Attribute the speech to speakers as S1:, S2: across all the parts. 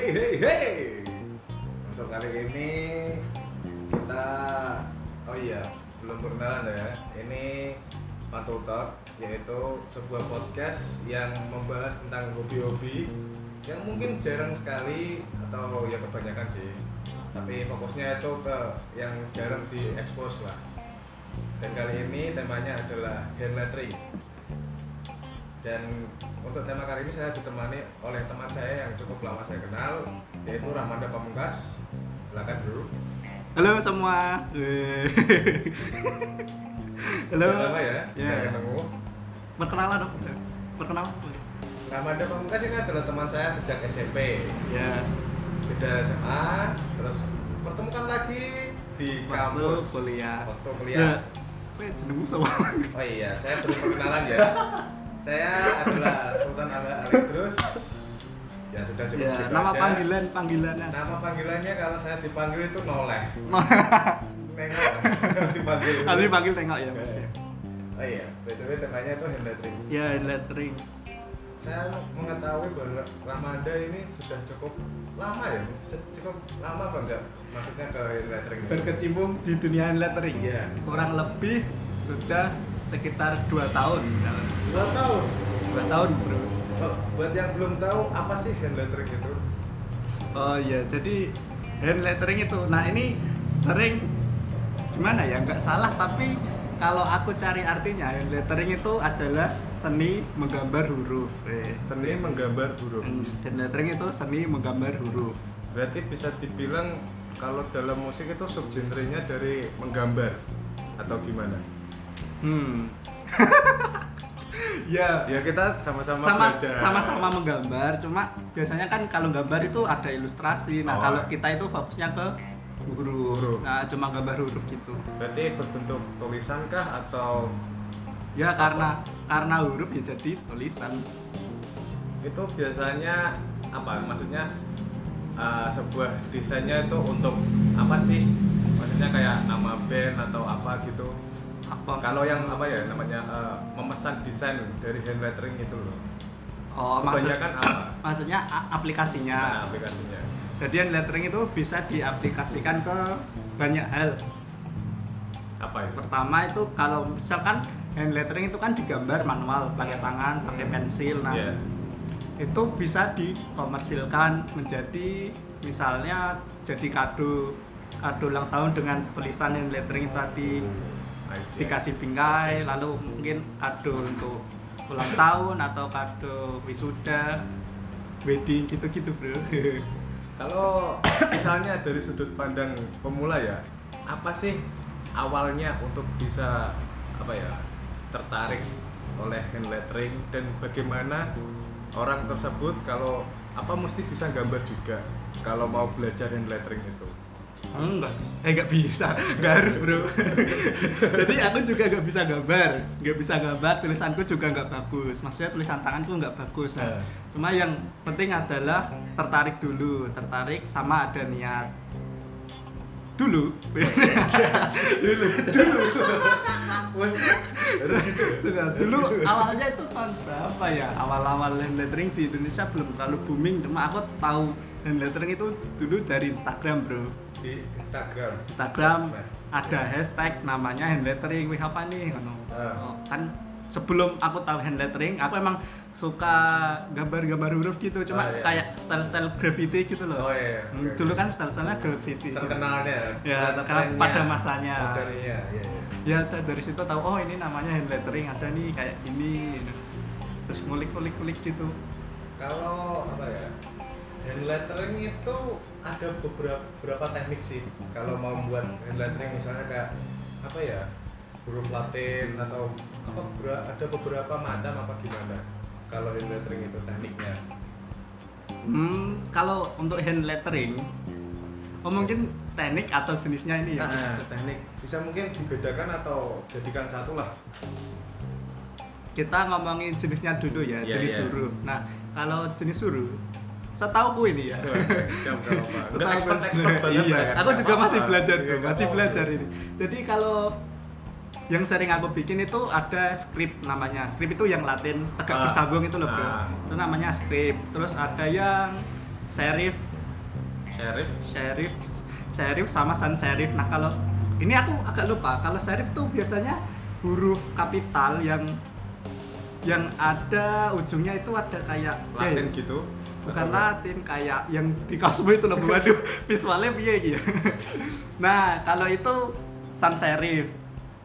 S1: hey. Untuk kali ini kita oh iya belum perkenalan ya. Ini Pantul Talk yaitu sebuah podcast yang membahas tentang hobi-hobi yang mungkin jarang sekali atau ya kebanyakan sih. Tapi fokusnya itu ke yang jarang diekspos lah. Dan kali ini temanya adalah hand lettering. Dan untuk tema kali ini saya ditemani oleh teman saya yang cukup lama saya kenal yaitu Ramanda Pamungkas. Silakan Bro.
S2: Halo semua. Weh. Halo.
S1: Sudah lama ya,
S2: Ya.
S1: yeah. ketemu.
S2: Perkenalan dong. Perkenalan.
S1: Ramanda Pamungkas ini adalah teman saya sejak SMP.
S2: Ya.
S1: Beda SMA, terus pertemukan lagi di
S2: Waktu
S1: kampus
S2: kuliah.
S1: Waktu kuliah.
S2: Ya. Weh, jenengmu sama.
S1: Oh iya, saya perlu perkenalan ya. saya adalah Sultan Al Alidrus. Ya sudah cukup
S2: Ya,
S1: segitu
S2: nama
S1: aja.
S2: panggilan panggilannya.
S1: Nama panggilannya kalau saya dipanggil itu noleh. Nengok. dipanggil.
S2: Harus dipanggil tengok ya, Mas. ya.
S1: Oh iya, btw temanya itu hand lettering.
S2: Ya, lettering.
S1: Saya mengetahui bahwa Ramanda ini sudah cukup lama ya, Se- cukup lama apa enggak? Maksudnya ke gitu. hand lettering. ini?
S2: Berkecimpung di dunia lettering.
S1: Iya.
S2: Kurang lebih sudah sekitar 2 tahun.
S1: Dua tahun.
S2: 2 tahun, Bro.
S1: Oh, buat yang belum tahu apa sih hand lettering itu?
S2: Oh ya, jadi hand lettering itu. Nah ini sering gimana ya, nggak salah tapi kalau aku cari artinya hand lettering itu adalah seni menggambar huruf. Eh,
S1: Seni menggambar burung.
S2: Hand lettering itu seni menggambar huruf.
S1: Berarti bisa dibilang kalau dalam musik itu subgenrenya dari menggambar atau gimana?
S2: Hmm. ya.
S1: Ya kita sama-sama
S2: Sama
S1: belajar.
S2: sama-sama menggambar, cuma biasanya kan kalau gambar itu ada ilustrasi. Nah
S1: Oh.
S2: kalau kita itu fokusnya ke huruf.
S1: Huruf.
S2: Nah cuma gambar huruf gitu.
S1: Berarti berbentuk tulisan kah atau
S2: Ya karena karena huruf ya jadi tulisan.
S1: itu biasanya apa? Maksudnya uh, sebuah desainnya itu untuk apa sih? Maksudnya kayak nama band atau apa gitu.
S2: apa
S1: Kalau yang apa ya namanya uh, memesan desain dari hand lettering itu loh.
S2: oh maksud, Ya.
S1: Kebanyakan apa?
S2: maksudnya a-
S1: Nah,
S2: aplikasinya
S1: aplikasinya.
S2: jadi hand lettering itu bisa diaplikasikan ke banyak hal
S1: Apa itu?
S2: pertama itu kalau misalkan hand lettering itu kan digambar manual pakai tangan pakai pensil nah
S1: Iya.
S2: itu bisa dikomersilkan menjadi misalnya jadi kado kado ulang tahun dengan tulisan hand lettering itu tadi
S1: I see.
S2: dikasih bingkai lalu mungkin kado untuk ulang tahun atau kado wisuda wedding gitu-gitu bro
S1: Kalau misalnya dari sudut pandang pemula ya, apa sih awalnya untuk bisa apa ya tertarik oleh hand lettering dan bagaimana orang tersebut kalau apa mesti bisa gambar juga kalau mau belajar hand lettering itu.
S2: enggak bisa eh nggak bisa nggak harus bro jadi aku juga nggak bisa gambar nggak bisa gambar tulisanku juga nggak bagus maksudnya tulisan tanganku nggak bagus nah.
S1: Eh.
S2: cuma yang penting adalah tertarik dulu tertarik sama ada niat dulu
S1: Dulu, dulu. Harus gitu.
S2: Sudah, dulu awalnya itu tahun berapa ya? Awal-awal hand lettering di Indonesia belum terlalu booming, cuma aku tahu hand lettering itu dulu dari Instagram, Bro.
S1: di Instagram.
S2: Instagram
S1: Sosmed.
S2: ada hashtag namanya hand lettering, wih apa nih? Ngono.
S1: Ah.
S2: Oh, kan sebelum aku tahu hand lettering, aku emang suka gambar-gambar huruf gitu,
S1: Oh,
S2: cuma
S1: iya.
S2: kayak style-style graffiti gitu
S1: Oh,
S2: loh.
S1: iya, iya.
S2: Hmm, Dulu kan style-stylenya graffiti. gitu.
S1: terkenalnya.
S2: Ya, terkenal
S1: trennya,
S2: pada masanya.
S1: Modernnya, ya, ya.
S2: ya t- dari situ tahu oh ini namanya hand lettering ada nih kayak gini terus ngulik ngulik ngulik gitu
S1: kalau apa ya hand lettering itu ada beberapa beberapa teknik sih kalau mau membuat hand lettering misalnya kayak apa ya huruf latin atau apa bera- ada beberapa macam apa gimana kalau hand lettering itu tekniknya
S2: hmm kalau untuk hand lettering oh mungkin teknik atau jenisnya ini ya
S1: Ah, teknik bisa mungkin dibedakan atau jadikan satu lah
S2: kita ngomongin jenisnya dulu ya
S1: Iya,
S2: jenis
S1: iya.
S2: huruf nah kalau jenis huruf setauku ini ya
S1: Enggak
S2: Setauku-
S1: expert-expert banget
S2: Iya,
S1: ya.
S2: aku juga
S1: Apa-apa.
S2: masih belajar
S1: Iya,
S2: bro,
S1: nggak
S2: masih
S1: apa-apa.
S2: belajar ini jadi kalau yang sering aku bikin itu ada script namanya script itu yang latin tegak
S1: Ah.
S2: bersambung itu loh bro
S1: Ah.
S2: itu namanya script terus ada yang serif
S3: Sheriff.
S2: Iya. Sheriff, Sheriff sama San Serif. Nah kalau ini aku agak lupa. Kalau Serif tuh biasanya huruf kapital yang yang ada ujungnya itu ada kayak
S3: Latin
S2: eh,
S3: gitu.
S2: bukan
S3: Atau-
S2: Latin kayak yang di Cosmo itu loh. Waduh, visualnya piye gitu. nah kalau itu San Serif.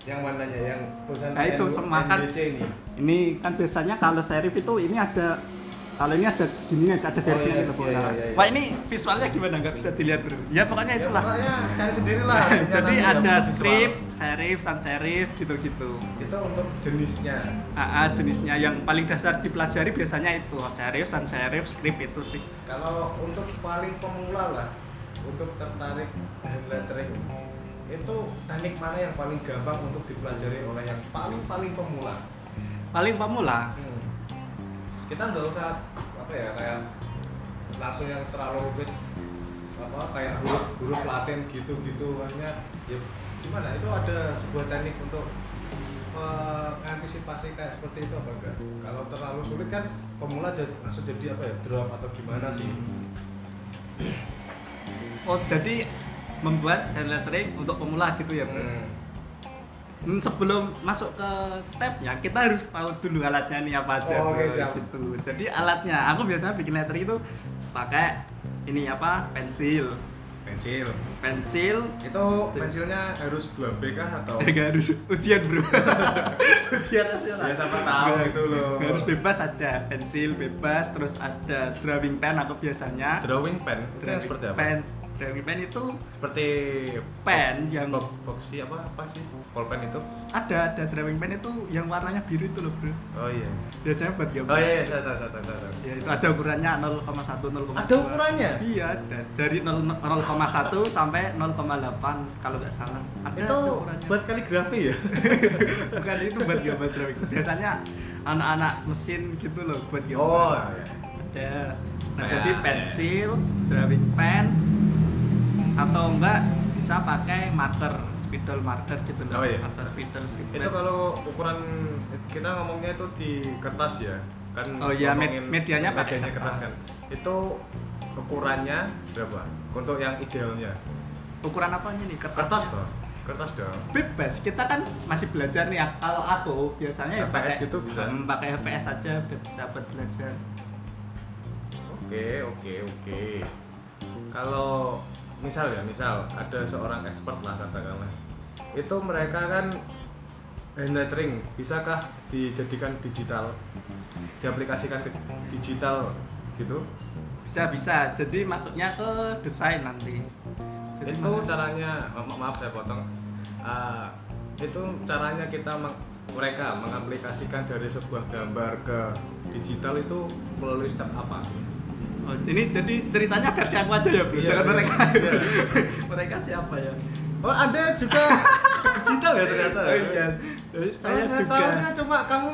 S1: Yang mananya yang tulisan
S2: Nah, itu
S1: NU
S2: semakan.
S1: NBC ini.
S2: Ini kan biasanya kalau Serif itu ini ada kalau ini ada gini ada
S1: iya,
S2: garisnya gitu.
S1: iya,
S2: Pak.
S1: iya, iya.
S2: Wah ini visualnya gimana nggak bisa dilihat bro? Ya pokoknya
S1: Ya,
S2: itulah.
S1: pokoknya cari sendiri lah. artinya
S2: Jadi
S1: nanti
S2: ada
S1: dalam
S2: skrip,
S1: visual.
S2: serif, sans serif gitu-gitu.
S1: Itu untuk jenisnya.
S2: AA jenisnya yang paling dasar dipelajari biasanya itu Oh, serif, sans serif, skrip itu sih.
S1: Kalau untuk paling pemula lah, untuk tertarik hand lettering itu teknik mana yang paling gampang untuk dipelajari oleh yang paling paling pemula?
S2: Paling pemula.
S1: Kita nggak usah apa ya kayak langsung yang terlalu rumit apa kayak huruf huruf Latin gitu gitu makanya ya gimana itu ada sebuah teknik untuk mengantisipasi kayak seperti itu apa enggak? Kalau terlalu sulit kan pemula jadi, langsung jadi apa ya drop atau gimana sih?
S2: Hmm. Oh, jadi membuat hand lettering untuk pemula gitu ya, Bro.
S1: Hmm.
S2: Hmm, Sebelum masuk ke stepnya, kita harus tahu dulu alatnya nih apa aja.
S1: Oh, oke,
S2: Bro,
S1: siap.
S2: gitu. Jadi alatnya, aku biasanya bikin lettering itu pakai ini apa? Pensil.
S1: pensil
S2: Pensil
S1: itu pensilnya harus 2B kah atau
S2: Gak harus ujian bro Ujian nasional
S1: Ya, siapa tahu
S2: Nggak-
S1: gitu loh.
S2: nggak Iya, harus bebas aja Pensil bebas Terus ada drawing pen aku biasanya
S3: Drawing pen. Itu yang
S2: Drawing
S3: seperti apa?
S2: pen Drawing pen itu
S3: Seperti
S2: pen yang
S1: Oh.
S3: box boxy apa apa sih? Pulpen itu?
S2: Ada ada drawing pen itu yang warnanya biru itu loh bro
S3: Oh iya.
S2: Biasanya buat gambar
S3: Oh iya, iya, saya tahu, saya tahu, saya tahu.
S2: Ya itu ada ukurannya 0,1, 0,2
S1: Ada ukurannya?
S2: Iya ada Dari 0, 0,1 sampai 0,8 Kalau nggak salah Ada
S3: Iya,
S1: itu
S2: ada ukurannya
S1: buat kaligrafi ya
S2: bukan itu buat gambar drawing biasanya anak-anak mesin gitu loh buat
S3: Iya,
S2: gambar
S1: oh
S2: ada nah,
S3: Kayak-
S2: jadi pensil drawing pen atau enggak bisa pakai marker spidol marker gitu loh
S3: Oh, iya.
S2: atau spidol spidol
S3: Itu kalau ukuran kita ngomongnya itu di kertas ya. Kan
S2: Oh iya, med-
S3: ngomongin
S2: medianya pakai
S3: medianya kertas
S2: kertas.
S3: kan. Itu ukurannya berapa? Untuk yang idealnya.
S2: ukuran apanya nih kertas
S3: Kertas dong. Kertas dong.
S2: bebas kita kan masih belajar nih kalau aku biasanya ya
S3: FPS
S2: pakai
S3: gitu bisa?
S2: Hmm, pakai FS aja biar bisa buat belajar
S3: Oke, oke, oke. Kalau misal ya, misal ada seorang expert lah katakanlah. Itu mereka kan hand lettering, bisakah dijadikan digital? Diaplikasikan ke digital gitu?
S2: bisa bisa jadi masuknya ke desain nanti Jadi
S3: itu
S2: mana-
S3: caranya ma- ma- maaf saya potong Eh, itu caranya kita meng- mereka mengaplikasikan dari sebuah gambar ke digital itu melalui step apa?
S2: Oh, ini jadi ceritanya versi aku aja ya, Bro.
S3: Iya,
S2: Jangan
S3: iya.
S2: mereka.
S3: Iya.
S2: mereka siapa ya?
S3: Oh ada juga digital ya ternyata.
S2: Oh iya. Jadi saya
S3: Oh,
S2: juga
S3: taunya cuma kamu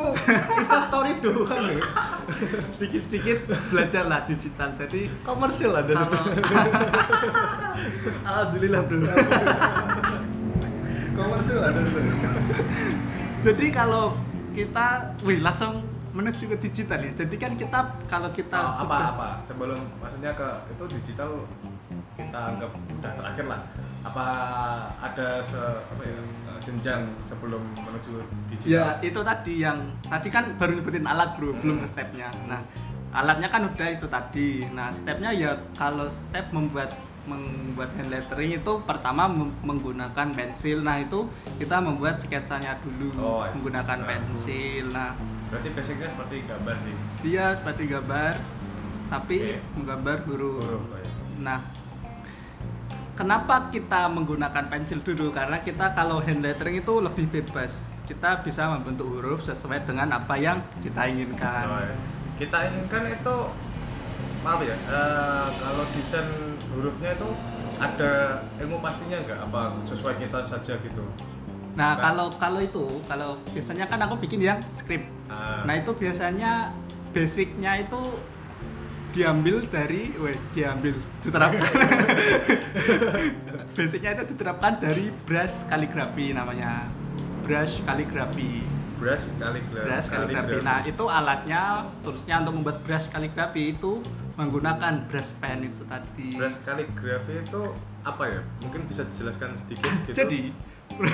S3: Insta story doang ya.
S2: sedikit-sedikit belajar lah digital. Jadi
S3: Komersil ada
S2: kalau Alhamdulillah, Bro.
S1: komersil ada sebenarnya
S2: Jadi kalau kita wih langsung menuju ke digital ya. Jadi kan kita kalau kita
S3: Nah, apa
S2: sudah-
S3: apa sebelum maksudnya ke itu digital kita anggap udah terakhir lah apa ada se apa ya jenjang sebelum menuju
S2: Ya
S3: digital
S2: itu tadi yang tadi kan baru nyebutin alat bro, belum ke stepnya. Nah alatnya kan udah itu tadi. Nah stepnya ya kalau step membuat membuat hand lettering itu pertama mem- menggunakan pensil. Nah itu kita membuat sketsanya dulu
S3: Oh, I see.
S2: menggunakan
S3: Ah.
S2: pensil. Nah
S3: berarti basicnya seperti gambar sih
S2: dia seperti gambar tapi
S3: Oke.
S2: menggambar huruf.
S3: huruf ya.
S2: Nah, kenapa kita menggunakan pensil dulu? Karena kita kalau hand lettering itu lebih bebas. Kita bisa membentuk huruf sesuai dengan apa yang kita
S3: Oh,
S2: inginkan.
S1: Nah,
S3: ya. kita
S1: kan
S3: inginkan itu maaf ya eh, kalau desain hurufnya itu ada ilmu pastinya nggak apa sesuai kita saja gitu
S2: Nah, kalau kalau itu, kalau biasanya kan aku bikin yang script.
S3: Ah.
S2: Nah, itu biasanya basicnya itu diambil dari, weh, diambil, diterapkan. basicnya itu diterapkan dari brush kaligrafi namanya. Brush kaligrafi.
S3: brush kaligrafi
S2: Nah, brush kaligrafi. Nah, itu alatnya, toolsnya untuk membuat brush kaligrafi itu menggunakan brush pen itu tadi.
S1: Brush kaligrafi itu apa ya? Mungkin bisa dijelaskan sedikit gitu.
S2: Jadi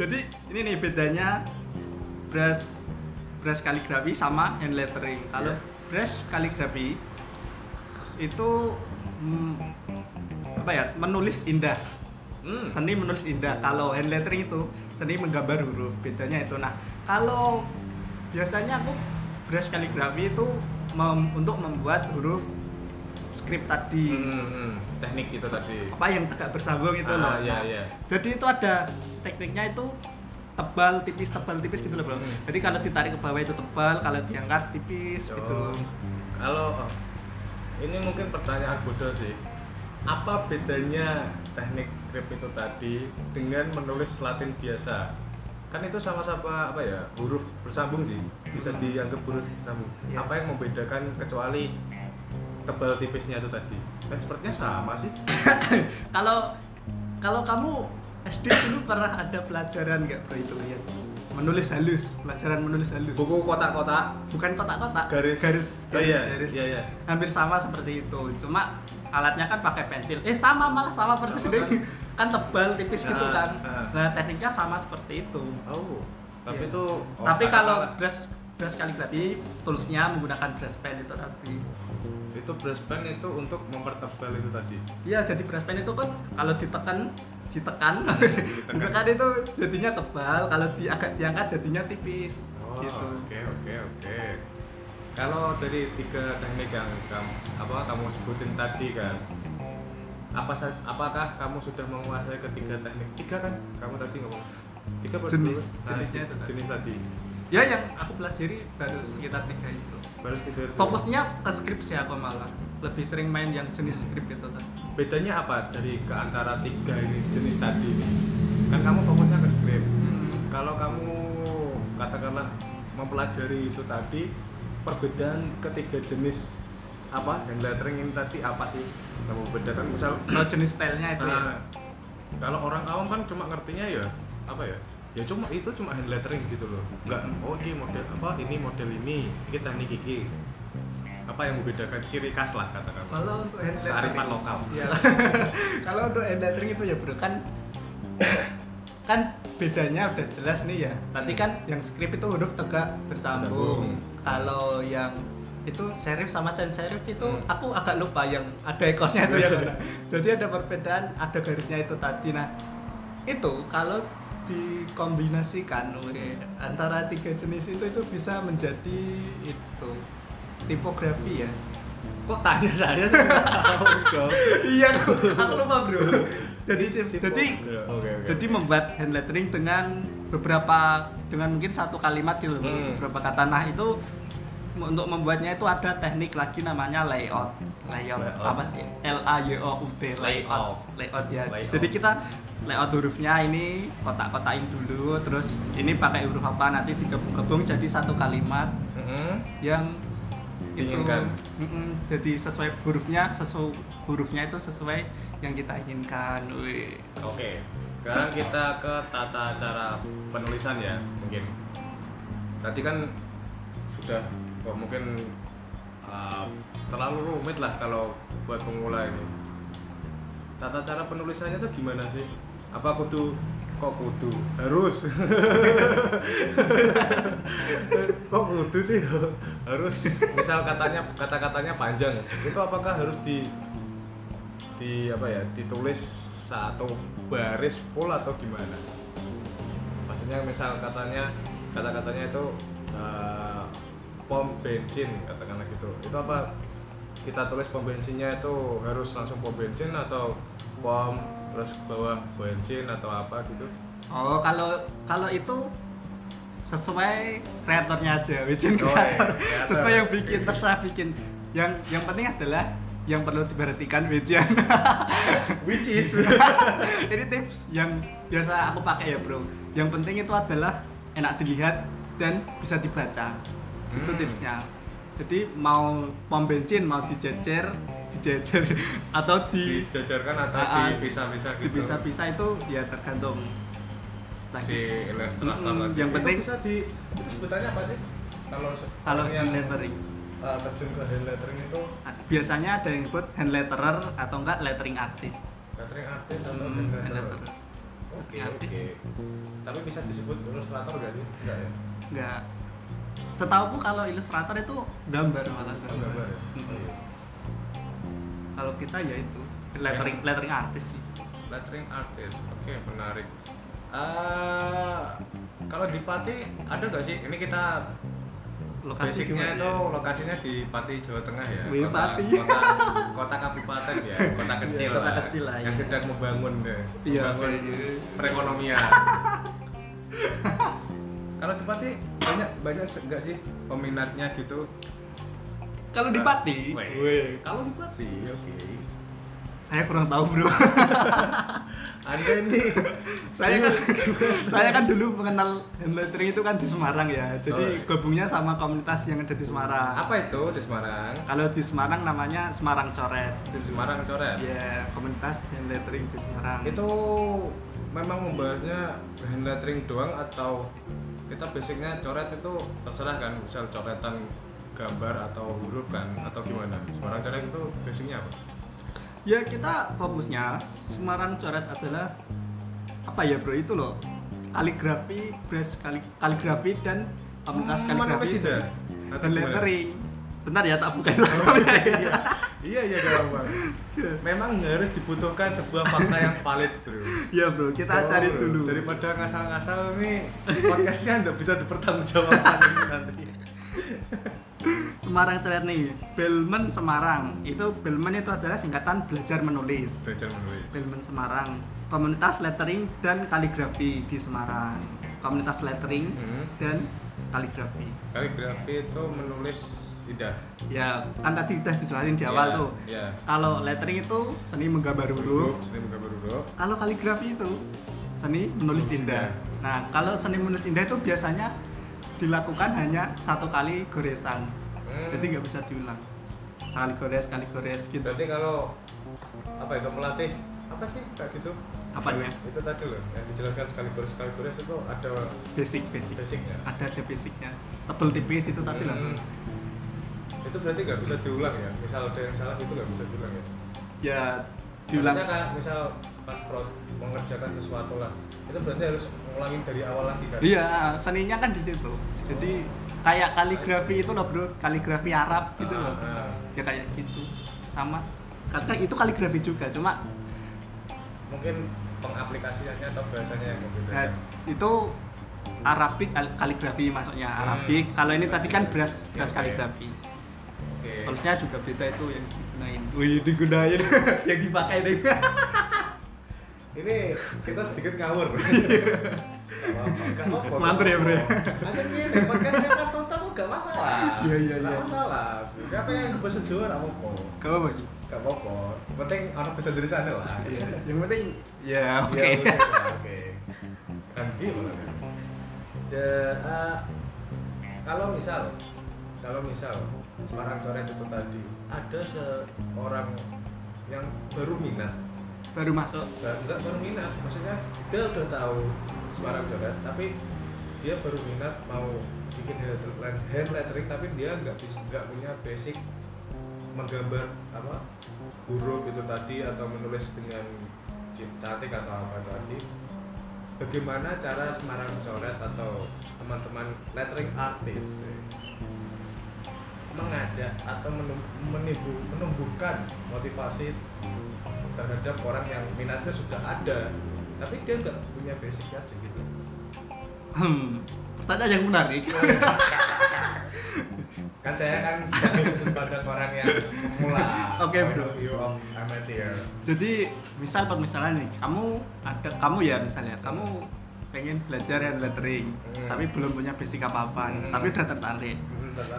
S2: jadi ini nih bedanya brush brush kaligrafi sama hand lettering. Kalau brush kaligrafi itu mm, apa ya? Menulis indah.
S1: Hmm.
S2: Seni menulis indah. Kalau hand lettering itu seni menggambar huruf. Bedanya itu. Nah, kalau biasanya aku brush kaligrafi itu mem- untuk membuat huruf script tadi
S1: Hmm, hmm. teknik itu tadi.
S2: apa yang tegak bersambung itu loh.
S1: Ah, iya, iya.
S2: Jadi itu ada tekniknya itu tebal tipis tebal tipis gitu loh bro.
S1: Hmm.
S2: Jadi kalau ditarik ke bawah itu tebal, kalau diangkat tipis gitu.
S1: Oh. Kalau oh, ini mungkin pertanyaan bodoh sih. Apa bedanya teknik script itu tadi dengan menulis Latin biasa? Kan itu sama-sama apa ya? Huruf bersambung sih. Bisa dianggap huruf bersambung.
S2: Iya.
S1: Apa yang membedakan kecuali tebal tipisnya itu tadi? Kan sepertinya sama sih.
S2: Kalau kalau kamu SD dulu pernah ada pelajaran nggak bro itu ya? Menulis halus, pelajaran menulis halus.
S1: Buku kotak-kotak
S2: Bukan kotak-kotak,
S1: garis
S2: garis,
S1: Oh,
S2: garis,
S1: iya,
S2: garis.
S1: iya, iya.
S2: Hampir sama seperti itu, cuma alatnya kan pakai pensil. Eh sama malah sama persis
S1: Sama
S2: ini. kan tebal tipis gitu
S1: Ah,
S2: kan.
S1: ah.
S2: Nah tekniknya sama seperti itu.
S1: Oh,
S2: Iya.
S1: tapi itu oh,
S2: tapi
S1: ada
S2: kalau
S1: apa?
S2: brush brush kaligrafi toolsnya menggunakan brush pen itu tadi
S1: itu brush pen itu untuk mempertebal itu tadi.
S2: iya jadi brush pen itu kan kalau ditekan ditekan
S1: Iya,
S2: ditekan itu jadinya tebal kalau di agak diangkat jadinya tipis
S1: Oh,
S2: gitu
S1: Oke, oke, oke. Kalau dari tiga teknik yang kamu apa kamu sebutin tadi kan, apa sa- apakah kamu sudah menguasai ketiga teknik? Tiga kan? Kamu tadi ngomong tiga apa
S2: Jenis,
S1: dua? Nah,
S2: jenisnya itu tadi.
S1: jenis tadi.
S2: ya yang aku pelajari baru sekitar tiga itu
S1: Baru sekitar itu.
S2: fokusnya ke script sih aku malah lebih sering main yang jenis script itu tadi
S1: Bedanya apa dari ke antara tiga ini jenis tadi ini? Kan kamu fokusnya ke script.
S2: Hmm.
S1: Kalau kamu katakanlah mempelajari itu tadi, perbedaan ketiga jenis apa dan lettering ini tadi apa sih? Kamu bedakan misal
S2: kalau jenis stylenya itu ya
S1: Ah, kalau orang awam kan cuma ngertinya ya apa ya? Ya cuma itu cuma hand lettering gitu loh. Enggak, oh ini model apa? Ini model ini, ini teknik ini. Apa yang membedakan ciri khas lah katakan.
S2: kalau untuk hand lettering
S1: Kearifan lokal.
S2: Ya. Kalau untuk hand lettering itu ya bro kan kan bedanya udah jelas nih ya. Tadi kan yang script itu huruf tegak bersambung. Kalau yang itu serif sama sans serif itu
S1: Hmm.
S2: aku agak lupa yang ada ekornya itu ya. Bro. Jadi ada perbedaan, ada garisnya itu tadi. Nah, itu kalau dikombinasikan oleh antara tiga jenis itu itu bisa menjadi itu tipografi ya.
S1: Kok tanya saya sih? Tahu, Cok.
S2: iya aku, aku lupa bro jadi jadi
S1: Oke, oke.
S2: jadi membuat hand lettering dengan beberapa dengan mungkin satu kalimat gitu loh,
S1: Hmm.
S2: beberapa kata nah itu m- untuk membuatnya itu ada teknik lagi namanya layout layout,
S1: Layout.
S2: apa sih L A Y O U T layout layout ya
S1: Layout.
S2: jadi kita layout hurufnya ini kotak-kotakin dulu terus ini pakai huruf apa nanti digabung-gabung jadi satu kalimat
S1: Mm-mm.
S2: yang itu-
S1: Diinginkan.
S2: Mm-mm, jadi sesuai hurufnya sesuai hurufnya itu sesuai yang kita inginkan Wih.
S1: Oke, sekarang kita ke tata cara penulisan ya mungkin. Tadi kan sudah oh, mungkin uh, terlalu rumit lah kalau buat pemula ini. Tata cara penulisannya tuh gimana sih? Apa kudu kok kudu harus kok kudu sih harus misal katanya kata katanya panjang itu apakah harus di di apa ya ditulis satu baris full atau gimana maksudnya misal katanya kata katanya itu eh, pom bensin katakanlah gitu itu apa kita tulis pom bensinnya itu harus langsung pom bensin atau pom terus ke bawah bensin atau apa gitu
S2: oh kalau kalau itu sesuai kreatornya aja bikin
S1: Oh, iya,
S2: kreator
S1: kreator.
S2: sesuai yang bikin terserah bikin yang yang penting adalah yang perlu diperhatikan Wijian
S1: which is
S2: ini tips yang biasa aku pakai ya bro yang penting itu adalah enak dilihat dan bisa dibaca itu
S1: Hmm.
S2: tipsnya jadi mau pom bensin mau dijejer dijejer atau di
S1: dijajarkan atau
S2: Ah, ah.
S1: dipisah-pisah gitu
S2: bisa bisa itu ya tergantung
S1: si
S2: lagi
S1: ilustrator
S2: Mm-mm,
S1: lagi.
S2: yang
S1: Itu
S2: penting
S1: bisa di itu sebutannya apa sih kalau se-
S2: kalau
S1: orang yang
S2: lettering
S1: eh, terjun ke hand lettering itu
S2: Biasanya ada yang nyebut hand letterer atau enggak lettering artist.
S1: lettering artis atau
S2: Hmm,
S1: hand
S2: hand
S1: letterer?
S2: letterer.
S1: Oke,
S2: Artis.
S1: oke. Tapi bisa disebut ilustrator gak sih? Enggak ya?
S2: Enggak. Setauku kalau ilustrator itu gambar malah
S1: Oh, gambar ya?
S2: Mm-mm.
S1: Oh, iya.
S2: Kalau kita ya itu lettering lettering artis sih.
S3: lettering artist oke menarik Ah, kalau di Pati ada nggak sih ini kita
S2: Lokasi gimana
S3: basicnya
S2: ya?
S3: itu
S2: Iya,
S3: lokasinya di Pati Jawa Tengah ya
S2: Wih,
S3: kota,
S2: Pati.
S3: kota kota kabupaten ya kota kecil
S2: Iya, kota
S3: lah,
S2: kecil lah,
S3: yang
S2: ya.
S3: sedang membangun deh
S2: Iya,
S3: membangun
S2: iya.
S3: perekonomian kalau di Pati banyak banyak se- nggak sih peminatnya gitu
S2: Kalau di Pati,
S3: Weh. kalau di Pati oke
S2: saya kurang tahu bro.
S3: anda ini
S2: saya
S3: Iya.
S2: kan saya kan dulu mengenal hand lettering itu kan di Semarang ya. Jadi
S3: Oh.
S2: gabungnya sama komunitas yang ada di Semarang.
S3: Nah, apa itu di Semarang
S2: Kalau di Semarang namanya Semarang Coret.
S3: di Semarang coret
S2: Ya komunitas hand lettering di Semarang.
S3: itu memang membahasnya hand lettering doang atau kita basicnya coret itu terserah kan misal coretan gambar atau huruf kan atau gimana Semarang coret itu basicnya apa?
S2: Ya kita fokusnya Semarang Coret adalah apa ya bro itu loh kaligrafi, brush kali, kaligrafi dan komunitas
S3: Menulis
S2: kaligrafi
S3: itu ya? Atau
S2: dan
S3: gimana?
S2: lettering. Bentar ya tak buka itu.
S3: Oh, iya iya gak apa memang harus dibutuhkan sebuah fakta yang valid bro
S2: ya bro kita
S3: Oh,
S2: cari
S3: bro.
S2: dulu.
S3: daripada ngasal-ngasal nih podcastnya nggak bisa dipertanggungjawabkan ini nanti
S2: Semarang Coret nih Belmen Semarang itu Belmen itu adalah singkatan belajar menulis.
S3: belajar menulis
S2: Belmen Semarang komunitas lettering dan kaligrafi di Semarang komunitas lettering
S3: Hmm.
S2: dan kaligrafi.
S3: kaligrafi itu menulis tidak
S2: Ya, kan tadi udah dijelasin di awal tuh.
S3: ya
S2: Kalau lettering itu seni menggambar
S3: huruf
S2: huruf.
S3: seni menggambar huruf
S2: Kalau kaligrafi itu seni menulis
S3: Menulis
S2: indah.
S3: indah.
S2: Nah, kalau seni menulis indah itu biasanya dilakukan hanya satu kali goresan.
S3: Hmm.
S2: Jadi nggak bisa diulang. Sekali gores, sekali gores gitu.
S3: berarti kalau apa itu melatih apa sih kayak gitu
S2: Apanya?
S3: itu tadi loh yang dijelaskan sekali gores sekali gores itu ada
S2: Basic, basic.
S3: basicnya
S2: Ada ada basicnya. Tebel tipis itu tadi lah.
S3: Hmm. itu berarti nggak bisa diulang ya misal ada yang salah itu nggak bisa diulang ya
S2: Ya diulang.
S3: Maksudnya kayak misal pas pro mengerjakan sesuatu lah itu berarti harus ngulangin dari awal lagi kan
S2: Iya, seninya kan di situ. Jadi kayak kaligrafi itu loh, Bro. Kaligrafi Arab gitu loh.
S3: Ah, ah.
S2: ya kayak gitu sama karena itu kaligrafi juga cuma
S3: mungkin pengaplikasiannya atau bahasanya yang berbeda
S2: eh, itu Arabik kal- kaligrafi maksudnya
S3: Hmm. Iya,
S2: Arabik kalau ini tadi kan beras
S3: Oke,
S2: beras
S3: oke.
S2: kaligrafi
S3: Oke.
S2: terusnya juga beda itu yang digunain wih digunain yang dipakai deh
S3: ini kita sedikit ngawur
S2: Mampir ya, Bro.
S3: Ada nih, podcastnya kan total kok gak masalah.
S2: Iya, iya, iya.
S3: Gak masalah. Gak apa yang bahasa Jawa gak apa-apa.
S2: kamu bagi
S3: Gak apa-apa. Yang penting anak bahasa Indonesia ada lah.
S2: Iya, yang penting ya oke
S3: Iya, bener, Oke. Ganti malah kan. Ja- eh, kalau misal kalau misal Semarang Coret itu tadi ada seorang yang baru minat
S2: baru masuk
S3: Nggak- nggak baru minat maksudnya dia udah tahu Semarang coret tapi dia baru minat mau bikin hand lettering- hand lettering tapi dia nggak bisa nggak punya basic menggambar apa huruf itu tadi atau menulis dengan ci- cantik atau apa tadi bagaimana cara Semarang coret atau teman-teman lettering artis mengajak atau menem- menimbu, menumbuhkan motivasi terhadap orang yang minatnya sudah ada tapi dia nggak punya basic aja gitu
S2: hmm pertanyaan yang menarik
S3: kan saya kan sebagai sudut pandang orang yang pemula
S2: Oke,
S3: point
S2: bro.
S3: of view of amateur
S2: jadi misal permisalan nih kamu ada kamu ya misalnya kamu pengen belajar hand lettering
S3: Hmm.
S2: tapi belum punya basic apa apa
S3: Hmm.
S2: tapi udah tertarik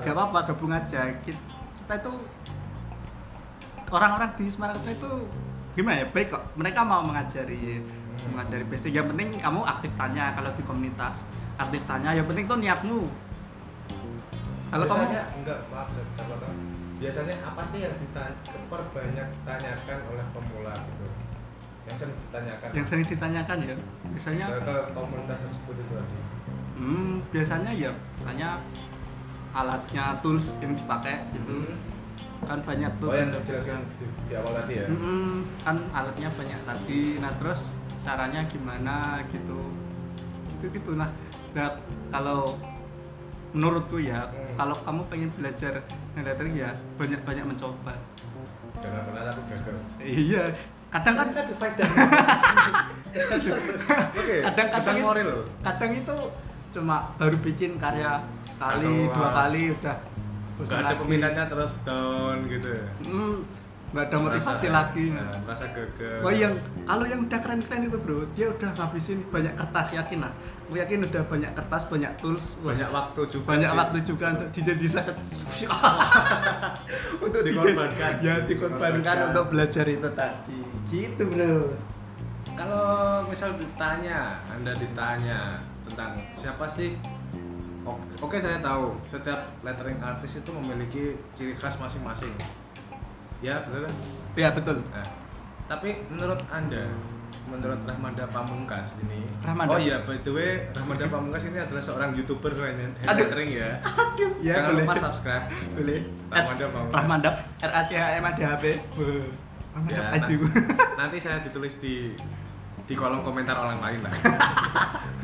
S2: gak apa-apa gabung aja kita, kita itu orang-orang di Semarang Utara itu gimana ya baik kok mereka mau mengajari
S3: Hmm.
S2: mengajari basic yang penting kamu aktif tanya kalau di komunitas aktif tanya yang penting tuh niatmu kalau kamu
S3: biasanya enggak maaf saya salah tahu. biasanya apa sih yang diperbanyak tanyakan oleh pemula gitu yang sering ditanyakan
S2: yang sering ditanyakan ya biasanya
S3: ke komunitas tersebut itu tadi
S2: hmm, biasanya ya tanya alatnya tools yang dipakai gitu kan banyak tuh
S1: Oh yang dijelaskan di, di awal tadi ya.
S2: Mm-mm, kan alatnya banyak tadi nah terus caranya gimana gitu gitu gitu nah, nah kalau menurutku ya
S1: Hmm.
S2: kalau kamu pengen belajar hand lettering ya banyak banyak mencoba
S1: Jangan pernah aku gagal.
S2: iya kadang kan
S1: di fight dan.
S3: Oke,
S2: kadang kadang
S3: iya. pesan
S2: itu,
S3: moral loh.
S2: kadang itu cuma baru bikin karya sekali
S3: Satu,
S2: dua
S3: ah.
S2: kali udah
S3: Gak ada peminatnya terus down gitu ya.
S2: Hmm, nggak ada motivasi
S3: Merasa-
S2: lagi iya. nah.
S3: Nah, merasa gagal.
S2: Wah yang kalau yang udah keren-keren itu bro, dia udah ngabisin banyak kertas yakin lah. Aku yakin udah banyak kertas, banyak tools, wah,
S3: banyak waktu juga.
S2: banyak
S3: sih.
S2: waktu juga untuk tidak bisa untuk tidak-
S3: Dikorbankan.
S2: ya dikorbankan
S3: Dikorbankan.
S2: untuk belajar itu tadi. Gitu bro.
S3: Kalau misal ditanya, Anda ditanya tentang siapa sih O- Oke saya tahu setiap lettering artis itu memiliki ciri khas masing-masing. Ya betul. kan?
S2: Ya betul.
S3: Nah, tapi menurut anda, menurut Rahmada Pamungkas ini,
S2: Rahmada.
S3: oh iya by the way Rahmada Pamungkas ini adalah seorang youtuber hand hand
S2: Aduh.
S3: lettering ya.
S2: Aduh, ya
S3: Jangan
S2: boleh.
S3: lupa subscribe.
S2: boleh.
S3: Rahmanda Pamungkas.
S2: Rahmanda R A C H M A D H P. Wah, Rahmanda
S3: Ya,
S2: Aduh.
S3: na- nanti saya ditulis di di kolom komentar orang lain lah. nah.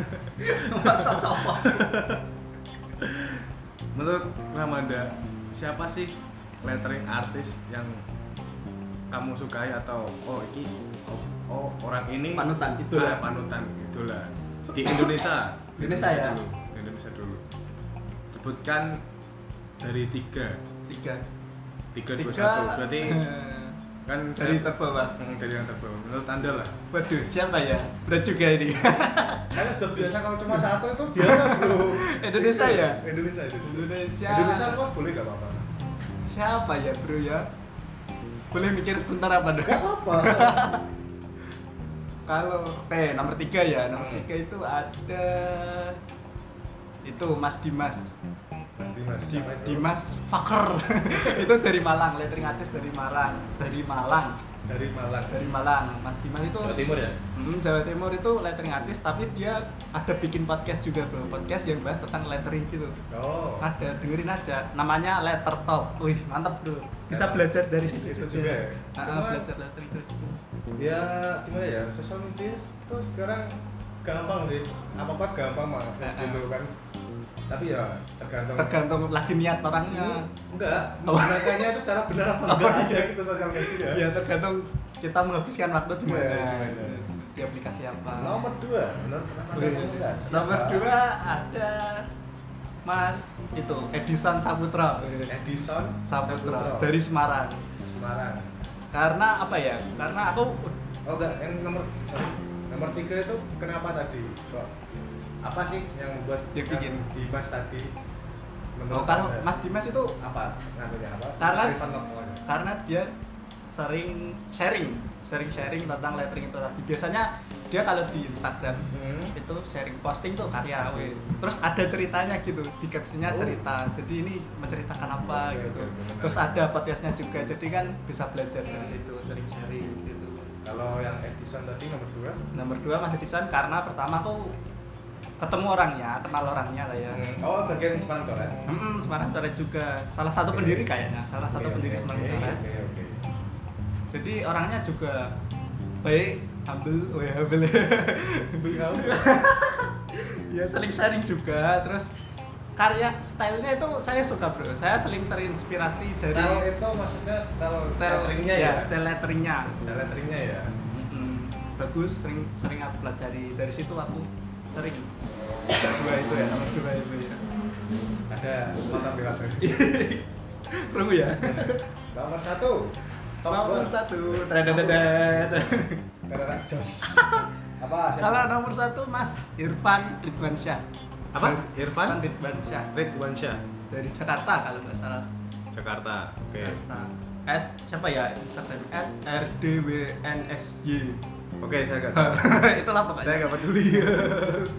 S2: Masa cowok.
S3: Menurut Ramanda, siapa sih lettering artis yang kamu sukai atau oh iki oh, oh, orang ini
S2: Panutan, idola.
S3: Ah, panutan idola di Indonesia. Di
S2: Indonesia ya?
S3: dulu. Di Indonesia dulu. Sebutkan dari tiga
S2: Tiga. Eh,
S3: tiga, dua satu berarti kan
S2: dari
S3: saya-
S2: terbawah.
S3: Hmm, dari yang terbawah menurut anda lah
S2: Waduh, siapa ya? Berat juga ini.
S1: Karena sudah biasa kalau cuma satu itu biasa bro.
S2: Indonesia ya?
S1: Indonesia Indonesia.
S2: Indonesia.
S1: Indonesia luar boleh gak apa-apa.
S2: Siapa ya, Bro ya? Boleh mikir sebentar apa dong?
S1: Apa?
S2: Kalau P nomor tiga ya, nomor
S1: Hmm.
S2: tiga itu ada itu Mas Dimas.
S1: Mas Dimas.
S2: Di- Dimas Faker. itu dari Malang, lettering artist dari Malang, dari Malang,
S1: dari Malang.
S2: dari Malang. Mas Dimas itu
S1: Timur ya.
S2: Hmm, Jawa Timur itu lettering artist tapi dia ada bikin podcast juga bro podcast yang bahas tentang lettering gitu
S1: Oh.
S2: ada dengerin aja namanya letter talk wih mantap bro bisa belajar dari situ
S1: Ah. Itu juga ya?
S2: Ah,
S1: Semua-
S2: belajar lettering itu
S1: Ya gimana ya? Sosial media itu sekarang gampang sih. Apa apa gampang mengakses
S2: Eh, eh.
S1: gitu kan. Tapi ya tergantung.
S2: tergantung Oh. lagi niat
S1: Iya.
S2: orangnya
S1: Enggak.
S2: Apa?
S1: Makanya itu secara benar apa
S2: Oh,
S1: enggak
S2: iya.
S1: aja gitu sosial media.
S2: ya tergantung kita menghabiskan waktu di mana
S1: Iya, iya, iya.
S2: di aplikasi apa
S1: Nomor dua, menurut
S2: Boleh,
S1: teman-teman
S2: boleh.
S1: enggak?
S2: Iya. nomor dua ada Mas itu Edison Saputra
S1: Edison
S2: Saputra dari Semarang
S1: Semarang.
S2: karena apa ya karena aku
S1: Oh enggak, yang nomor sorry. nomor tiga itu kenapa tadi kok apa sih yang membuat
S2: Dia
S1: Kang
S2: bikin.
S1: Dimas tadi?
S2: Oh,
S1: menurut
S2: kalau
S1: Anda?
S2: Mas Dimas itu
S1: apa nganunya apa?
S2: Karena-
S1: Kearifan lokalnya.
S2: karena dia sering sharing, sering-sharing tentang lettering itu tadi. Biasanya dia kalau di Instagram
S1: Hmm.
S2: itu sharing posting tuh karya weh. Terus ada ceritanya gitu, di captionnya
S1: Oh.
S2: cerita. Jadi ini menceritakan
S1: Oke,
S2: apa
S1: oke, oke,
S2: gitu.
S1: Hmm. menarik.
S2: Terus ada podcastnya juga, jadi kan bisa belajar dari situ, sharing-sharing gitu.
S1: Kalau yang Edison tadi nomor dua
S2: Nomor dua Mas Edison karena pertama aku ketemu orangnya, kenal orangnya lah ya.
S1: Oh, bagian Semarang Coret.
S2: Mm-mm, Semarang Coret juga salah satu
S1: Oke.
S2: pendiri kayaknya, salah satu
S1: Oke,
S2: pendiri
S1: oke,
S2: Semarang
S3: ya.
S1: oke,
S2: Coret.
S1: Oke, oke.
S2: jadi orangnya juga baik humble oh ya humble ya saling sharing juga terus karya stylenya itu saya suka bro saya saling terinspirasi dari
S1: Style itu maksudnya style
S2: style
S1: letteringnya
S2: ya,
S1: ya.
S2: style letteringnya
S1: Style letteringnya ya.
S2: Mm-mm. bagus sering sering aku pelajari dari situ aku sering dua itu ya nomor dua itu ya
S1: Ada mata pilates.
S3: Iya.
S2: Rungu ya
S1: Nomor satu. Top one.
S2: nomor satu Tredededed.
S1: Karena jos. Apa? siapa?
S2: kalau nomor satu Mas Irfan Ridwansyah
S3: apa
S2: Irfan
S3: Irfan
S2: Ridwansyah
S3: Ridwan Syah
S2: dari Jakarta kalau nggak salah.
S3: Jakarta oke
S2: Jakarta. At siapa ya Instagram? At rdwnsy.
S3: oke saya gak
S2: Itulah pokoknya.
S3: saya gak peduli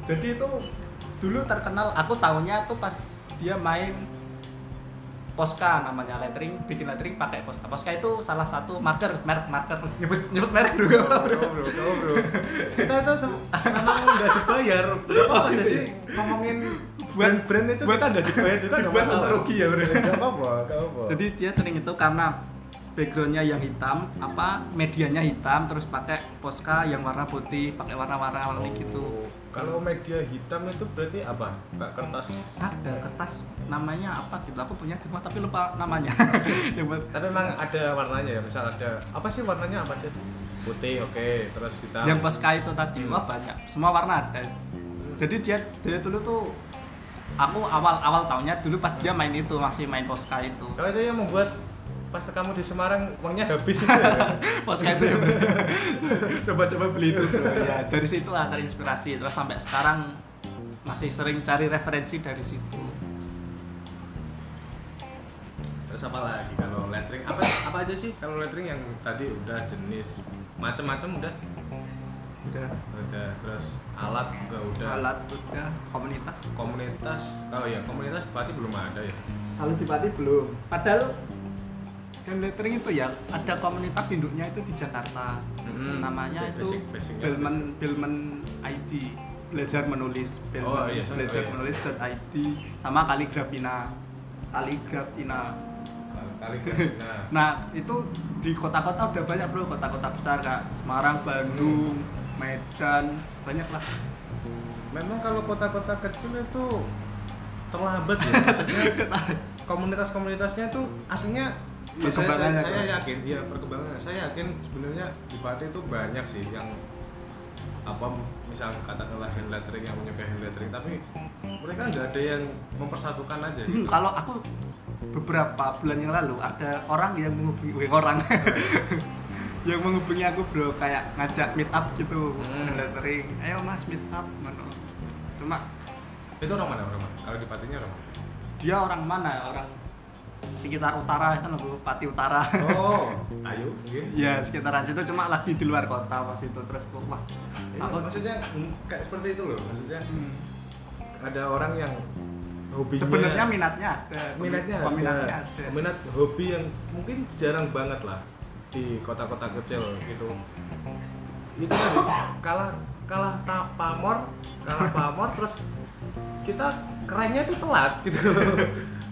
S2: Jadi itu dulu terkenal. Aku tahunya tuh pas dia main Posca namanya lettering, bikin lettering pakai Posca. Posca itu salah satu marker, merek marker nyebut nyebut merek dulu.
S3: Bro, bro, bro, bro. Kita itu sem- emang udah dibayar. Gak apa-apa, jadi ngomongin brand-brand itu
S2: buat-
S3: kita udah dibayar juga gak
S2: dibuat
S3: masalah.
S2: untuk rugi ya, bro.
S3: Gak apa-apa, gak apa-apa.
S2: Jadi dia sering itu karena backgroundnya yang hitam, apa medianya hitam, terus pakai Posca yang warna putih, pakai warna-warna warni gitu.
S3: Kalau media hitam itu berarti apa? Pak kertas.
S2: Ada kertas namanya apa gitu? Aku punya di rumah tapi lupa namanya. Yang buat-
S3: Tapi emang ada warnanya ya, misal ada apa sih warnanya apa aja? sih? Putih, oke, terus hitam.
S2: yang pasca itu tadi wah banyak semua warna ada jadi dia dia dulu tuh aku awal awal tahunnya dulu pas dia main itu masih main Posca itu
S3: Kalau itu yang membuat pas kamu di Semarang uangnya habis itu ya.
S2: Posca itu coba-coba beli itu ya dari situ lah terinspirasi terus sampai sekarang masih sering cari referensi dari situ
S3: Terus apa lagi kalau lettering apa apa aja sih kalau lettering yang tadi udah jenis macam-macam udah
S2: udah
S3: udah terus alat juga udah
S2: alat udah komunitas
S3: komunitas kalau ya komunitas berarti belum ada ya
S2: kalau Cipati belum padahal game lettering itu ya ada komunitas induknya itu di Jakarta
S3: Mhm.
S2: namanya
S3: Basic-
S2: itu
S3: basicnya.
S2: Bilman Bilman IT belajar menulis Bilman
S3: Oh, iya, sorry.
S2: belajar
S3: Oh, iya.
S2: menulis sama kaligrafina kaligrafina
S3: kali kali nah
S2: nah itu di kota-kota udah banyak bro kota-kota besar kak Semarang Bandung
S3: Hmm.
S2: Medan banyak lah
S3: memang kalau kota-kota kecil itu terlambat ya maksudnya komunitas-komunitasnya tuh aslinya ya, saya, saya,
S2: Perkembangannya
S3: saya
S2: tuh.
S3: yakin ya perkembangan saya yakin sebenarnya di Pati itu banyak sih yang apa misal katakanlah hand lettering yang menyukai hand lettering tapi mereka nggak ada yang mempersatukan aja
S2: Hmm, kalau aku beberapa bulan yang lalu ada orang yang menghubungi weh, orang yang menghubungi aku bro kayak ngajak meet up gitu
S3: Hmm.
S2: lettering ayo mas meet up mana cuma
S3: itu orang mana orang mana kalau di Patinya orang mana?
S2: dia orang mana ya? orang sekitar utara kan aku pati utara
S3: oh ayo mungkin
S2: ya sekitaran situ cuma lagi di luar kota pas itu terus aku wah
S3: Iya,
S2: aku
S3: maksudnya mm, kayak seperti itu loh maksudnya
S2: Hmm.
S3: ada orang yang hobinya
S2: sebenarnya minatnya ada
S3: minatnya ada.
S2: peminatnya ada
S3: minat hobi yang mungkin jarang banget lah di kota-kota kecil gitu itu tadi, kalah kalah ta- pamor kalah pamor terus kita kerennya itu telat gitu loh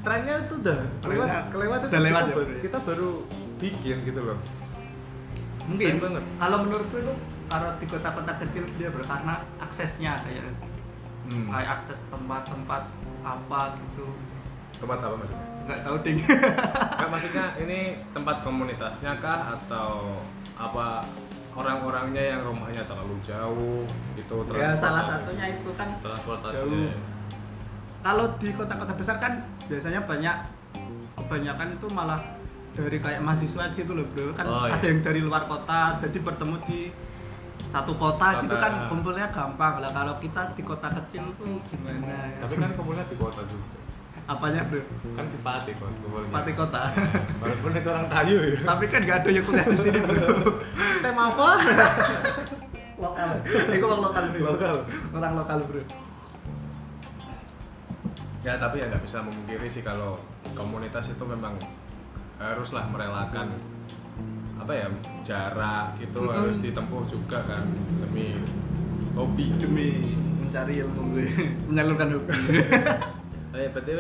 S3: trennya itu udah kelewat
S2: Trennya
S3: kelewat itu
S2: udah lewat
S3: kita,
S2: ya,
S3: baru,
S2: Bro, ya?
S3: kita baru bikin gitu loh
S2: mungkin
S3: Sering banget.
S2: kalau menurutku itu kalau di kota-kota kecil dia ber- karena aksesnya ya. kayak kayak akses tempat-tempat apa gitu
S3: tempat apa maksudnya
S2: nggak tahu ding
S3: Nggak, maksudnya ini tempat komunitasnya kah atau apa orang-orangnya yang rumahnya terlalu jauh gitu
S2: ya salah
S3: transportasi-
S2: satunya itu kan
S3: transportasinya
S2: jauh kalau di kota-kota besar kan biasanya banyak kebanyakan itu malah dari kayak mahasiswa gitu loh bro kan
S3: Oh, iya.
S2: ada yang dari luar kota jadi bertemu di satu
S3: Kota.
S2: kota gitu kan kumpulnya gampang lah kalau kita di kota kecil tuh gimana
S3: tapi kan kumpulnya di kota juga
S2: apanya bro
S3: kan di Pati kan kumpulnya
S2: pati kota
S3: walaupun itu orang Tayu ya
S2: tapi kan nggak ada yang kuliah di sini bro
S3: stem apa?
S2: lokal itu orang lokal bro
S3: Lokal.
S2: orang lokal bro
S3: ya tapi ya nggak bisa memungkiri sih kalau komunitas itu memang haruslah merelakan apa ya jarak itu harus ditempuh juga kan demi hobi
S2: demi mencari ilmu gue menyalurkan hobi
S3: Eh, btw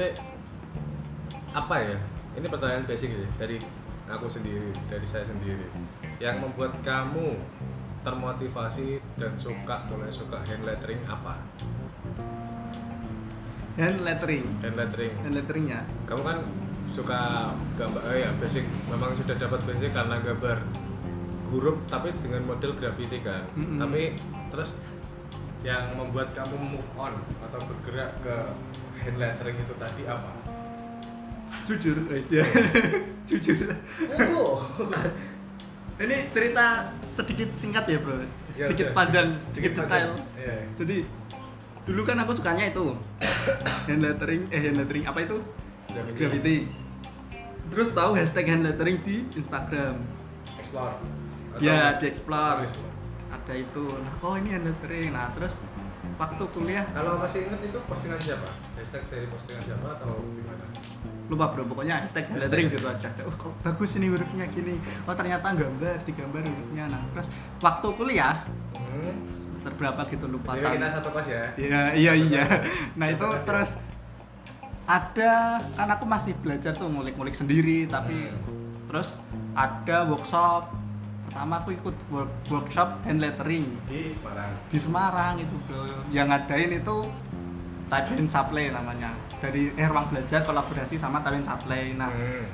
S3: apa ya? Ini pertanyaan basic ya dari aku sendiri, dari saya sendiri. Yang membuat kamu termotivasi dan suka mulai suka hand lettering apa?
S2: hand lettering
S3: Hand lettering.
S2: hand letteringnya
S3: Kamu kan suka gambar, eh, ya basic. Memang sudah dapat basic karena gambar huruf tapi dengan model graffiti kan.
S2: Mm-mm.
S3: Tapi terus yang membuat kamu move on atau bergerak ke hand lettering itu tadi apa?
S2: jujur eh, ya. jujur Oh, ini cerita sedikit singkat ya bro
S3: Ya,
S2: sedikit
S3: udah.
S2: panjang sedikit detail
S3: Iya.
S2: jadi dulu kan aku sukanya itu hand lettering eh hand lettering apa itu
S3: Graffiti.
S2: graffiti terus tahu hashtag hand lettering Iya, di Instagram
S3: explore
S2: ya di explore ada itu nah oh ini hand lettering nah terus waktu kuliah
S3: Kalau masih inget itu postingan siapa? Hashtag dari postingan siapa atau gimana?
S2: lupa bro pokoknya hashtag hand lettering gitu aja oh kok bagus ini hurufnya gini oh ternyata gambar digambar hurufnya nah terus waktu kuliah
S3: Hmm.
S2: semester berapa gitu lupa
S3: Jadi
S2: tahun.
S3: kita satu kelas ya.
S2: Iya, iya, iya. Nah itu
S3: Makasih.
S2: terus ada kan aku masih belajar tuh ngulik-ngulik sendiri tapi terus ada workshop pertama aku ikut work- workshop hand lettering
S3: Di Semarang.
S2: di Semarang itu bro yang ngadain itu Tabin Supply namanya dari eh, ruang belajar kolaborasi sama Tabin Supply nah
S3: Hmm.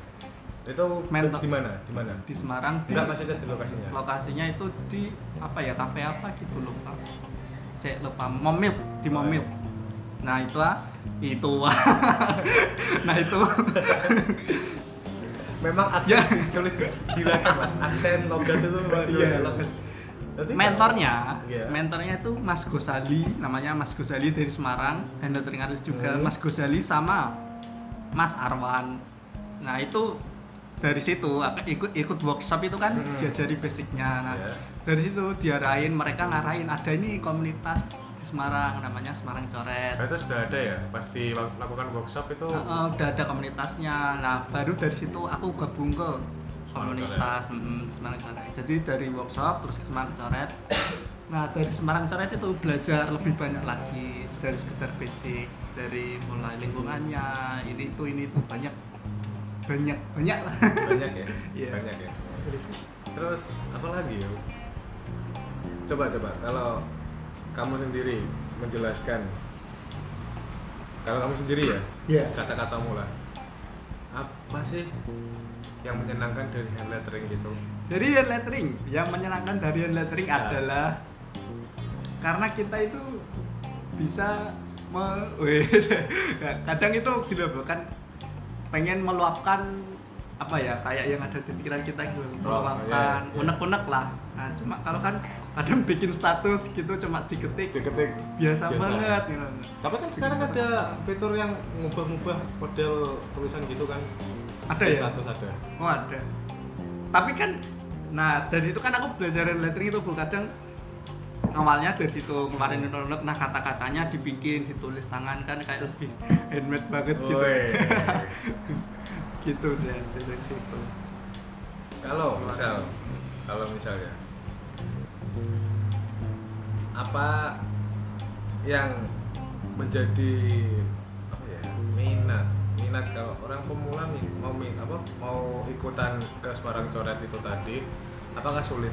S1: Itu
S2: Mentok.
S1: di mana? Di mana?
S2: di Semarang
S3: Iya.
S2: di
S1: Enggak maksudnya di lokasinya.
S2: lokasinya itu di apa ya kafe apa gitu lupa saya lupa momil di momil nah itu ah, itu ah. nah itu
S1: Memang aksen sulit dilakukan mas. Aksen logat itu memang sulit.
S2: Iya, logat.
S1: Nanti
S2: mentornya
S1: Iya.
S2: mentornya itu Mas Gosali namanya Mas Gosali dari Semarang dan teringat juga
S1: Hmm.
S2: Mas Gosali sama Mas Arwan nah itu dari situ aku ikut ikut workshop itu kan diajari basicnya nah
S1: Hmm. Iya.
S2: dari situ diarahin mereka ngarahin ada ini komunitas di Semarang namanya Semarang Coret
S1: Nah, itu sudah ada ya. Pasti lakukan workshop itu
S2: Nah, eh, udah ada komunitasnya nah baru dari situ aku gabung ke
S1: Semarang
S2: komunitas mm, Semarang Coret jadi dari workshop terus ke Semarang Coret nah dari Semarang Coret itu belajar lebih banyak lagi dari sekedar basic dari mulai lingkungannya ini itu ini itu banyak banyak banyak lah
S1: banyak ya.
S2: Iya.
S1: Banyak ya. Terus apa lagi ya? Coba coba kalau kamu sendiri menjelaskan kalau kamu sendiri ya
S2: Iya.
S1: kata-katamu lah apa sih yang menyenangkan dari hand lettering gitu
S2: Jadi hand lettering yang menyenangkan dari hand lettering
S1: Ya.
S2: adalah karena kita itu bisa me Weh, kadang itu gitu loh kan pengen meluapkan apa ya kayak yang ada di pikiran kita gitu
S1: Oh,
S2: loh, meluapkan
S1: iya, iya.
S2: unek-unek lah nah cuma kalau kan kadang bikin status gitu cuma diketik
S1: diketik
S2: biasa, banget gitu.
S1: tapi kan sekarang ada fitur yang ngubah-ngubah model tulisan gitu kan
S2: Ada
S1: Di
S2: ya?
S1: status ada
S2: Oh ada. Tapi kan, nah dari itu kan aku belajar hand lettering itu Bu. kadang awalnya dari situ kemarin
S1: Hmm.
S2: menurut nah kata-katanya dibikin ditulis tangan kan kayak lebih handmade banget gitu
S1: Woi.
S2: gitu deh dari situ
S1: kalau misal kalau ya, misalnya apa yang menjadi apa ya minat minat kalau orang pemula mi- mau mi- apa mau ikutan ke Semarang Coret itu tadi apakah sulit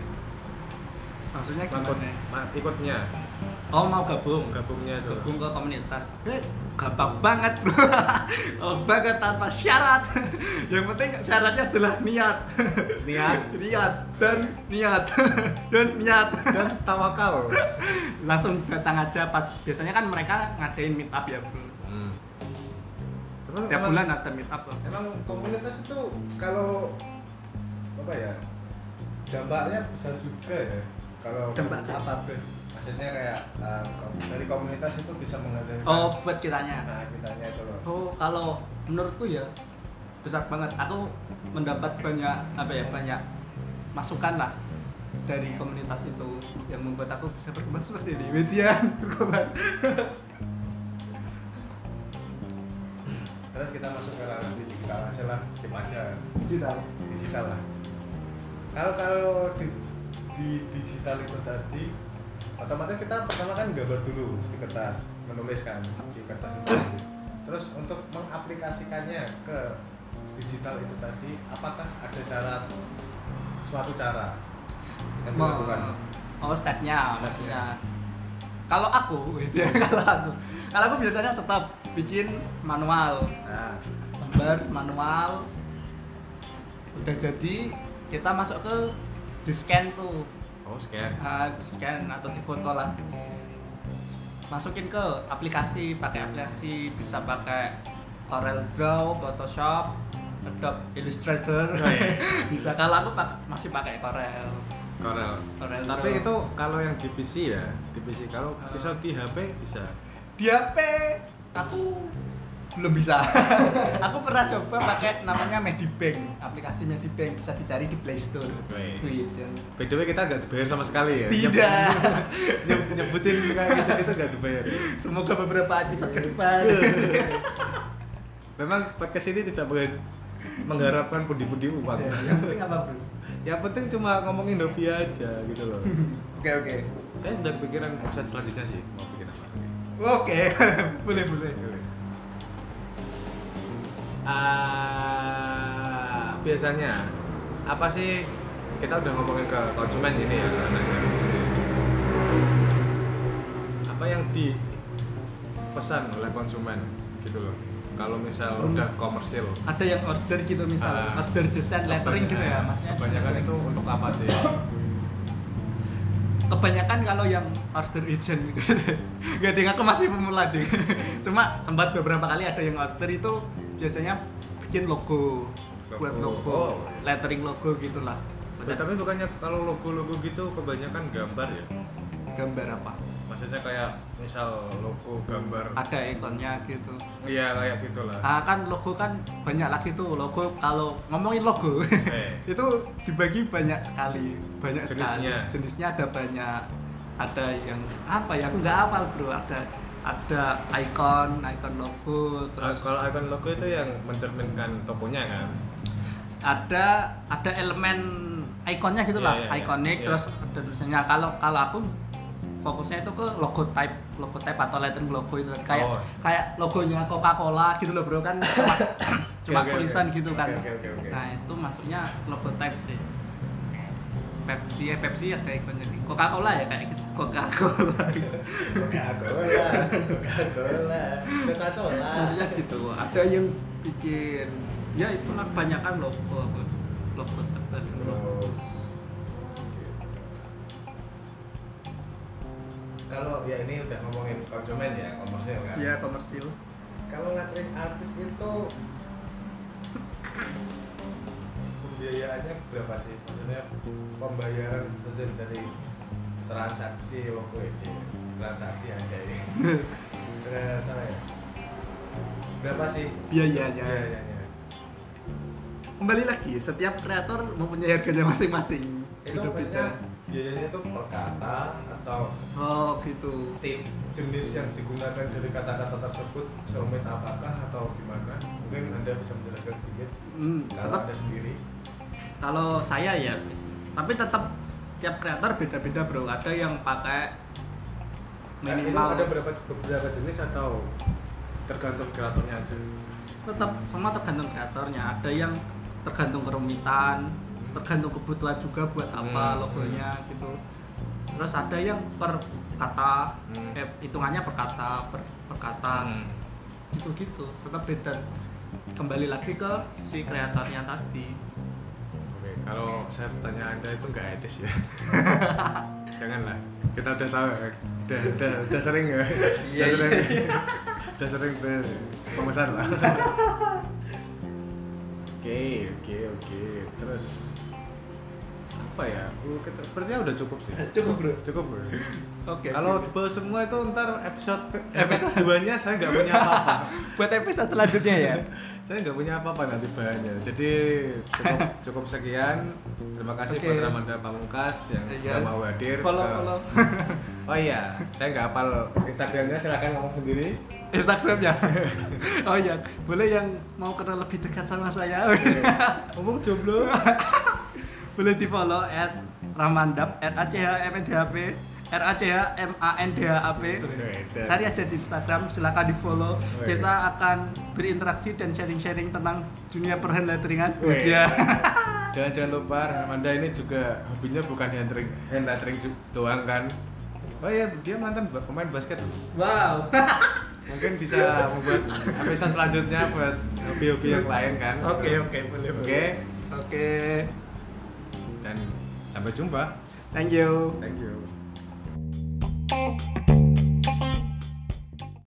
S2: maksudnya
S1: Ikut-
S2: gimana?
S1: ma- ikutnya
S2: Oh mau gabung?
S1: gabungnya itu
S2: gabung ke komunitas Eh, gampang banget bro oh banget tanpa syarat yang penting syaratnya adalah niat
S1: Niat.
S2: niat dan niat dan niat
S1: dan tawakal
S2: langsung datang aja pas biasanya kan mereka ngadain meet up ya bro
S1: hmm. Terus
S2: tiap
S1: emang-
S2: bulan ada meet up loh.
S3: Emang komunitas itu kalau apa ya dampaknya besar juga ya kalau
S2: Dampak apa,
S3: bro? Maksudnya kayak eh, kom- dari komunitas itu bisa menghadirkan
S2: oh buat kiranya
S3: nah kitanya itu loh.
S2: oh kalau menurutku ya besar banget aku mendapat banyak apa ya banyak masukan lah dari komunitas itu yang membuat aku bisa berkembang seperti ini Widian berkembang
S3: Terus kita masuk ke ranah digital aja lah, skip aja
S2: digital
S3: digital lah. Kalau kalau di, di digital itu tadi otomatis kita pertama kan gambar dulu di kertas, menuliskan di kertas itu. tadi. Terus untuk mengaplikasikannya ke digital itu tadi, apakah ada cara suatu cara yang
S2: Mau-
S3: dilakukan?
S2: oh stepnya
S3: Stepnya.
S2: maksudnya kalau aku gitu ya kalau aku kalau aku biasanya tetap bikin manual
S3: Nah,
S2: gambar manual udah jadi kita masuk ke di scan tuh
S1: oh scan
S2: Ah, di scan atau di foto lah masukin ke aplikasi pakai aplikasi bisa pakai Corel Draw, Photoshop, Adobe Illustrator
S1: Wih.
S2: bisa kalau aku pak- masih pakai Corel
S1: Corel.
S2: Corel
S1: Tapi
S2: Draw.
S1: itu kalau yang di PC ya, di PC kalau
S2: Ah.
S1: misal di HP bisa.
S2: di HP aku belum bisa. aku pernah coba pakai namanya Medibank, aplikasi Medibank bisa dicari di Play Store. ya.
S1: Oke.
S2: Wih, jen.
S1: By the way kita nggak dibayar sama sekali ya.
S2: Tidak.
S1: Nyebut- Nyebutin kayak gitu itu nggak dibayar.
S2: Semoga beberapa episode ke depan.
S1: Iya. Memang podcast ini tidak ber- mengharapkan pundi-pundi uang.
S2: Ya, Yang penting apa bro?
S1: Yang penting cuma ngomongin hobi aja gitu loh.
S2: Oke oke.
S1: Saya sedang pikiran episode selanjutnya sih mau bikin apa.
S2: Oke, boleh boleh.
S1: Ah, biasanya apa sih kita udah ngomongin ke konsumen ini ya karena yang di sini. apa yang dipesan oleh konsumen gitu loh kalau misal udah komersil
S2: Ada yang order gitu misalnya,
S1: Ah.
S2: order desain lettering gitu ya, maksudnya.
S1: kebanyakan itu untuk apa sih
S2: kebanyakan kalau yang order agent gitu. Gak ding, aku masih pemula ding. Cuma sempat beberapa kali ada yang order itu biasanya bikin logo, buat
S1: Logo.
S2: logo,
S1: Oh.
S2: lettering logo gitulah.
S1: Eh, tapi bukannya kalau logo-logo gitu kebanyakan gambar ya
S2: Gambar apa?
S1: maksudnya kayak misal logo gambar
S2: Ada ikonnya gitu.
S1: iya kayak gitulah
S2: Ah kan logo kan banyak lagi tuh logo kalau ngomongin logo
S1: Eh.
S2: itu dibagi banyak sekali banyak
S1: Jenisnya.
S2: sekali jenisnya ada banyak ada yang apa ya aku nggak hafal bro ada ada icon icon logo
S1: Ah,
S2: terus
S1: kalau icon logo itu yang mencerminkan tokonya kan
S2: ada ada elemen ikonnya gitulah
S1: Iya, iya, iya.
S2: ikonik
S1: Iya.
S2: terus ada tulisannya Nah, kalau kalau aku fokusnya itu ke logotype logotype atau lettering logo itu kayak
S1: Oh.
S2: kayak logonya Coca-Cola gitu loh bro kan cuma, cuma
S1: Oke, oke,
S2: tulisan
S1: oke.
S2: gitu
S1: Oke,
S2: kan
S1: oke, oke, oke.
S2: nah itu maksudnya logotype sih Pepsi ya Pepsi ada ikonnya jadi Coca-Cola ya kayak gitu Coca-Cola
S3: Coca-Cola, Coca-Cola, Coca-Cola.
S2: maksudnya gitu ada yang bikin ya itulah kebanyakan logo apa, logo lettering logo
S3: Terus kalau ya ini udah ngomongin konsumen ya komersil kan.
S2: ya komersil
S3: Kalau ngatrin artis itu pembiayaannya berapa sih? Maksudnya pembayaran dari, dari transaksi logo aja, transaksi aja ini. Bener salah ya? Berapa sih? Iya,
S2: biayanya
S3: Biayanya.
S2: iya, kembali lagi setiap kreator mempunyai harganya masing-masing
S3: Itu maksudnya biayanya itu per kata atau
S2: oh gitu
S3: tip jenis yang digunakan dari kata-kata tersebut seumit apakah atau gimana mungkin anda bisa menjelaskan sedikit
S2: hmm,
S3: kalau
S2: tetap
S3: anda sendiri
S2: kalau saya ya tapi tetap tiap kreator beda-beda bro ada yang pakai
S3: Nah, itu
S2: minimal
S3: ada berapa beberapa jenis atau
S1: tergantung kreatornya aja
S2: tetap semua tergantung kreatornya ada yang tergantung kerumitan tergantung kebutuhan juga buat apa
S1: Hmm.
S2: logonya gitu terus ada yang per kata
S1: Hmm.
S2: eh, hitungannya per kata per, per kata
S1: Hmm.
S2: gitu-gitu tetap beda kembali lagi ke si kreatornya tadi
S1: Oke, kalau saya bertanya anda itu nggak etis ya janganlah kita udah tahu ya. udah udah udah sering ya
S2: Iya,
S1: udah
S2: iya,
S1: sering udah sering ber- pemesan lah oke oke oke terus apa ya Uh, kita sepertinya udah cukup sih
S2: cukup bro
S1: cukup bro
S2: oke
S1: Kalau tebal semua itu ntar episode ke-
S2: Episode.
S1: episode 2 nya saya nggak punya apa-apa.
S2: buat episode selanjutnya ya
S1: saya nggak punya apa-apa nanti bahannya. Jadi cukup cukup sekian. Terima kasih
S2: Oke.
S1: buat Ramanda Pamungkas yang sudah
S2: Iya.
S1: mau hadir.
S2: follow
S1: ke-
S2: follow
S1: Oh iya, saya nggak hafal Instagramnya silakan ngomong sendiri.
S2: Instagramnya oh ya boleh yang mau kenal lebih dekat sama saya Iya.
S1: Ngomong jomblo.
S2: boleh di follow at ramandap r a c h m n d h p r a c h m a n d h a p
S1: Wih,
S2: cari aja di Instagram silahkan di follow
S1: Wih.
S2: kita akan berinteraksi dan sharing-sharing tentang dunia perhen letteringan
S1: Wih.
S2: ya
S1: Dan jangan lupa Ramanda ini juga hobinya bukan hand lettering, hand lettering ju- doang kan. Oh iya, dia mantan ba- pemain basket.
S2: wow
S1: mungkin bisa
S2: Iya.
S1: membuat episode selanjutnya buat hobi-hobi yang lain kan
S2: oke oke boleh
S1: oke
S2: boleh. oke
S1: dan sampai jumpa
S2: thank you
S1: thank you